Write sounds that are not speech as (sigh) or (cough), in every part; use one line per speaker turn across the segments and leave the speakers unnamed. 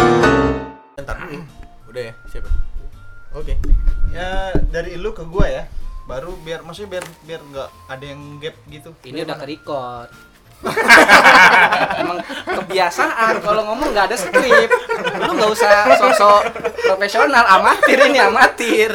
Ah. ya,
Ya, dari lu ke gue ya baru biar maksudnya biar biar nggak ada yang gap gitu
Ini udah ke record. (laughs) Emang kebiasaan kalau ngomong nggak ada skrip. Lu nggak usah sosok profesional, amatir ini amatir.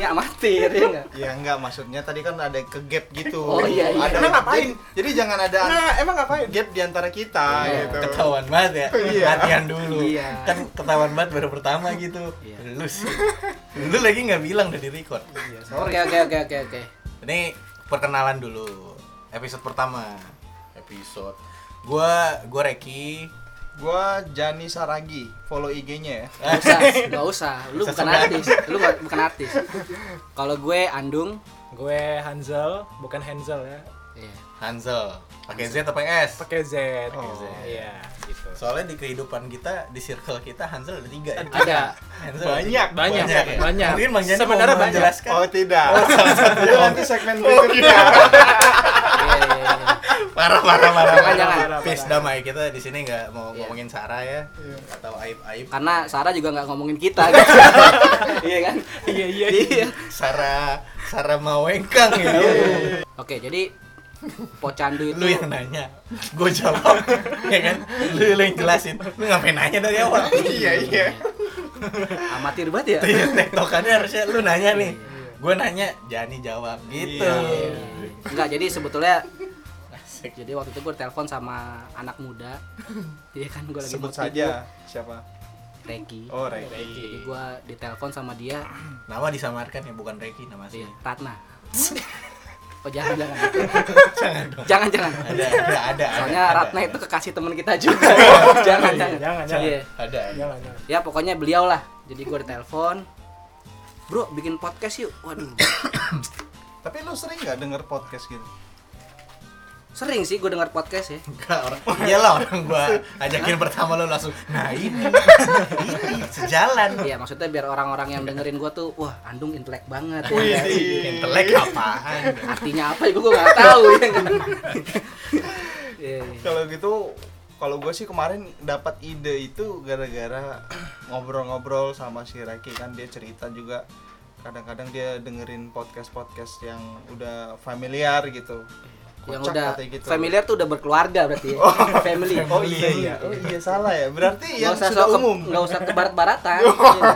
Ini amatir ya nggak?
ya enggak maksudnya tadi kan ada ke gap gitu
Oh, iya, iya.
ada
Nah,
jadi,
ngapain?
jadi jangan ada
Nah, emang ngapain?
gap di antara kita
Iya.
gitu
ketahuan banget ya
Iya.
latihan dulu
Iya.
kan ketahuan banget baru pertama gitu
Iya.
lu sih lu lagi nggak bilang udah di record
Oke oke oke oke oke.
ini perkenalan dulu episode pertama episode gua gua Reki
gue Jani Saragi follow IG-nya ya
Nggak usah, nggak usah.
Usah
Lu bukan
sembarangan.
artis, lu nggak- bukan artis. Kalau gue Andung,
Gue Hansel, bukan Hansel ya.
iya.
Hansel pakai Z apa S
Pakai Z.
Oh.
Z. Iya, gitu.
soalnya di kehidupan kita di circle kita Hansel ada tiga ya
ada.
Hansel
Banyak,
ada tiga.
banyak,
ya?
banyak.
mungkin Bang Jani
Sebenarnya
mau
banyak.
menjelaskan
oh tidak (laughs) itu nanti segmen berikutnya
Oh,
Iya, iya, iya.
parah parah parah
Jangan,
parah.
jangan.
Peace, damai kita di sini nggak mau
Iya.
ngomongin Sarah ya
Iya.
atau aib aib
Karena Sarah juga nggak ngomongin kita, gitu. iya kan?
Iya, iya.
Iya.
Sarah Sarah mawengkang ya
Oke, jadi Pocandu itu
lu yang nanya gue jawab (laughs) ya kan lu, lu yang jelasin lu ngapain nanya dari awal
(laughs) iya iya
amatir banget ya.
Tuh, ya, tektokannya harusnya lu nanya nih gue nanya Jani jawab gitu
Iya.
Enggak, jadi sebetulnya
Asik.
jadi waktu itu gue telepon sama anak muda. Iya kan gue lagi
sebut
mau
saja siapa
tidur, Reki.
oh Reki
Jadi gue ditelepon sama dia,
nama disamarkan ya bukan Reki nama
dia
asli
Ratna. Oh jangan jangan.
jangan dong
jangan jangan.
ada ada ada
Soalnya
ada,
Ratna itu kekasih teman kita juga. jangan
Iya,
jangan.
jangan,
Iya.
jangan.
ada, ada.
Jangan, jangan.
Ya pokoknya beliau lah. Jadi gue ditelepon. Bro, bikin podcast yuk. Waduh.
tapi lu sering nggak denger podcast gitu
Sering sih gue dengar podcast ya.
Enggak, orang iyalah orang gua ajakin pertama lu langsung nah ini ini sejalan
Iya, maksudnya biar orang-orang yang dengerin gue tuh, wah, Andung intelek banget. Iya,
intelek apaan
artinya apa juga gue nggak tahu ya kan Iya, iya.
Kalau gitu, kalau gue sih kemarin dapat ide itu gara-gara (clears throat) ngobrol-ngobrol sama si Raki kan dia cerita juga kadang-kadang dia dengerin podcast-podcast yang udah familiar gitu.
yang
Kocak
udah
katanya gitu.
familiar tuh udah berkeluarga berarti ya. family
Oh iya iya, oh iya salah ya. Berarti
nggak
yang
usah
sudah
sok ke-
umum.
nggak usah ke barat baratan
(laughs)
Iya.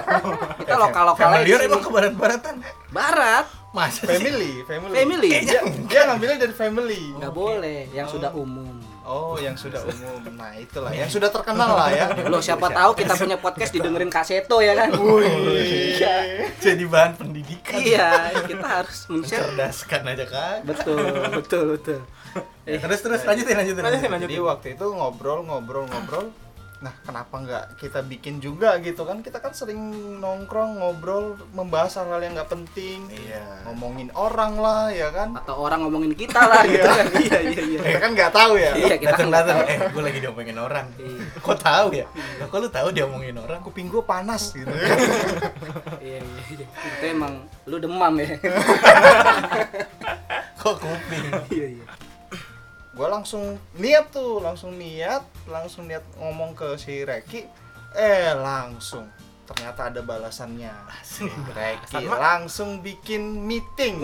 kita lokal lokal
Familiar emang ke barat-baratan
barat
masa sih
Family, family. Eh,
family
Dia, dia ngambilnya dari family.
nggak boleh yang sudah umum
Oh, yang sudah umum. Nah, itulah yang sudah terkenal lah ya.
lo siapa tahu kita punya podcast didengerin kaseto ya kan iya
jadi bahan pendidikan
iya kita harus men-share
cerdaskan aja kan
betul betul betul
Ya, terus terus lanjutin lanjutin
Lanjutin,
Jadi
lanjutin.
waktu itu ngobrol ngobrol ngobrol. Nah, kenapa nggak kita bikin juga gitu kan? Kita kan sering nongkrong ngobrol membahas hal-hal yang nggak penting.
Iya.
Ngomongin orang lah ya kan.
atau orang ngomongin kita lah gitu kan iya iya iya
Kita kan nggak tahu ya.
Iya, kita
datang
nggak
datang
tahu.
eh gue lagi diomongin orang
Iya.
kok tahu ya Lah, kok lu tahu diomongin orang
Kuping gue panas gitu.
iya iya iya. itu emang lu demam ya
kok kuping
iya
(laughs)
iya
gue langsung niat tuh, langsung niat, langsung niat ngomong ke si Reki. Eh, langsung ternyata ada balasannya. Reki langsung bikin meeting,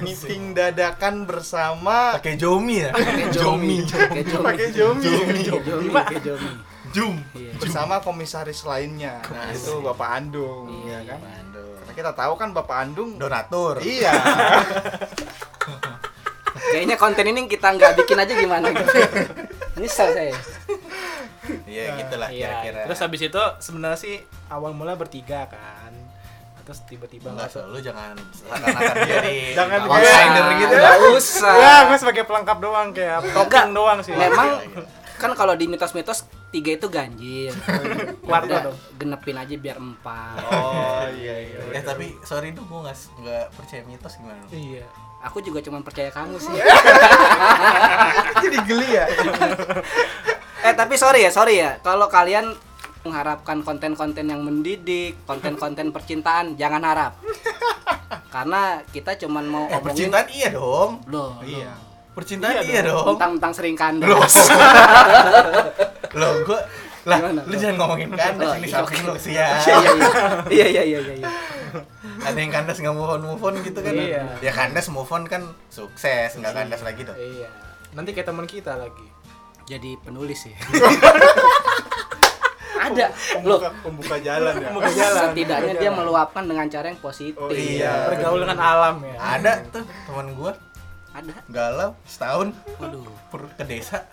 meeting dadakan bersama
pakai jomi ya
Pakai Jomi.
Pakai Jomi.
Pakai Jomi. Pakai Jomi.
jum
Iya.
bersama komisaris lainnya. Nah,
Komisaris.
itu Bapak Andung,
Iya,
ya kan?
Pak
Karena kita tahu kan Bapak Andung
donatur
Iya.
Kayaknya konten ini kita nggak bikin aja gimana gitu. Nyesel saya.
iya gitulah kira-kira
Terus habis itu sebenarnya sih awal mula bertiga kan. Terus tiba-tiba
Enggak,
nggak
so, lu jangan seakan-akan jadi
Jangan
outsider
Wah,
gitu
nggak usah.
Ya, gue sebagai pelengkap doang kayak (laughs)
Enggak.
topping doang sih.
Memang kan kalau di mitos-mitos tiga itu ganjil.
Warna
Udah
dong.
genepin aja biar empat.
Oh iya iya.
ya tapi sorry tuh gue nggak nggak percaya mitos gimana Eh, lu?
Iya.
Aku juga cuma percaya kamu sih.
Jadi geli ya.
Eh tapi sorry ya, sorry ya. Kalau kalian mengharapkan konten-konten yang mendidik, konten-konten percintaan, jangan harap. Karena kita cuman mau
eh
omongin
percintaan iya dong
loh,
Iya.
percintaan iya, dong
tentang sering kandang.
Loh. lo gue lah
Gimana,
lu
Bro?
jangan ngomongin kan
Oh,
ini
(laughs) iya,
samping lu
oke.
sih ya
Iya iya iya iya iya. iya.
ada yang kandas nggak move on move on gitu kan
Iya.
ya kandas move on kan sukses nggak kandas lagi tuh
Iya. Nanti kayak teman kita lagi.
jadi penulis sih ada loh
Pembuka, pembuka jalan ya.
Pembuka jalan.
setidaknya dia meluapkan dengan cara yang positif
Oh, iya.
Bergaul dengan alam ya.
ada tuh teman gua
ada
galau setahun
waduh
per ke desa (laughs)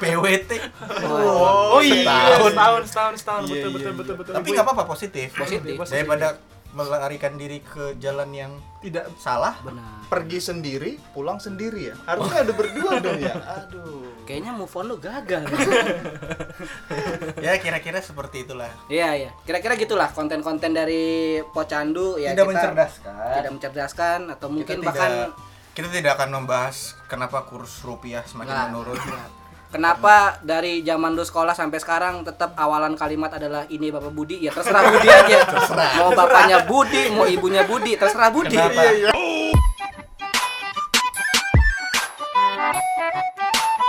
PWT
Oh, iya.
Setahun.
setahun, setahun, setahun,
Iya,
betul,
iya,
betul,
iya.
betul, betul.
tapi nggak apa-apa positif
Positif.
daripada melarikan diri ke jalan yang
tidak
(laughs)
salah
benar
Pergi sendiri, pulang sendiri ya. Harusnya ada berdua dong ya. Aduh.
kayaknya move on lu gagal
ya kira-kira seperti itulah
iya iya kira-kira gitulah konten-konten dari Pocandu ya
tidak
kita
mencerdaskan
tidak mencerdaskan
Kita
atau mungkin
tidak-
bahkan
kita tidak akan membahas kenapa kurs rupiah semakin
Nggak,
menurun
(laughs) nggak. Nah, iya. Kenapa dari zaman lu sekolah sampai sekarang tetap awalan kalimat adalah ini Bapak Budi? Ya terserah Budi aja. Mau bapaknya Budi, mau ibunya Budi, terserah Budi. Iya,
Kenapa?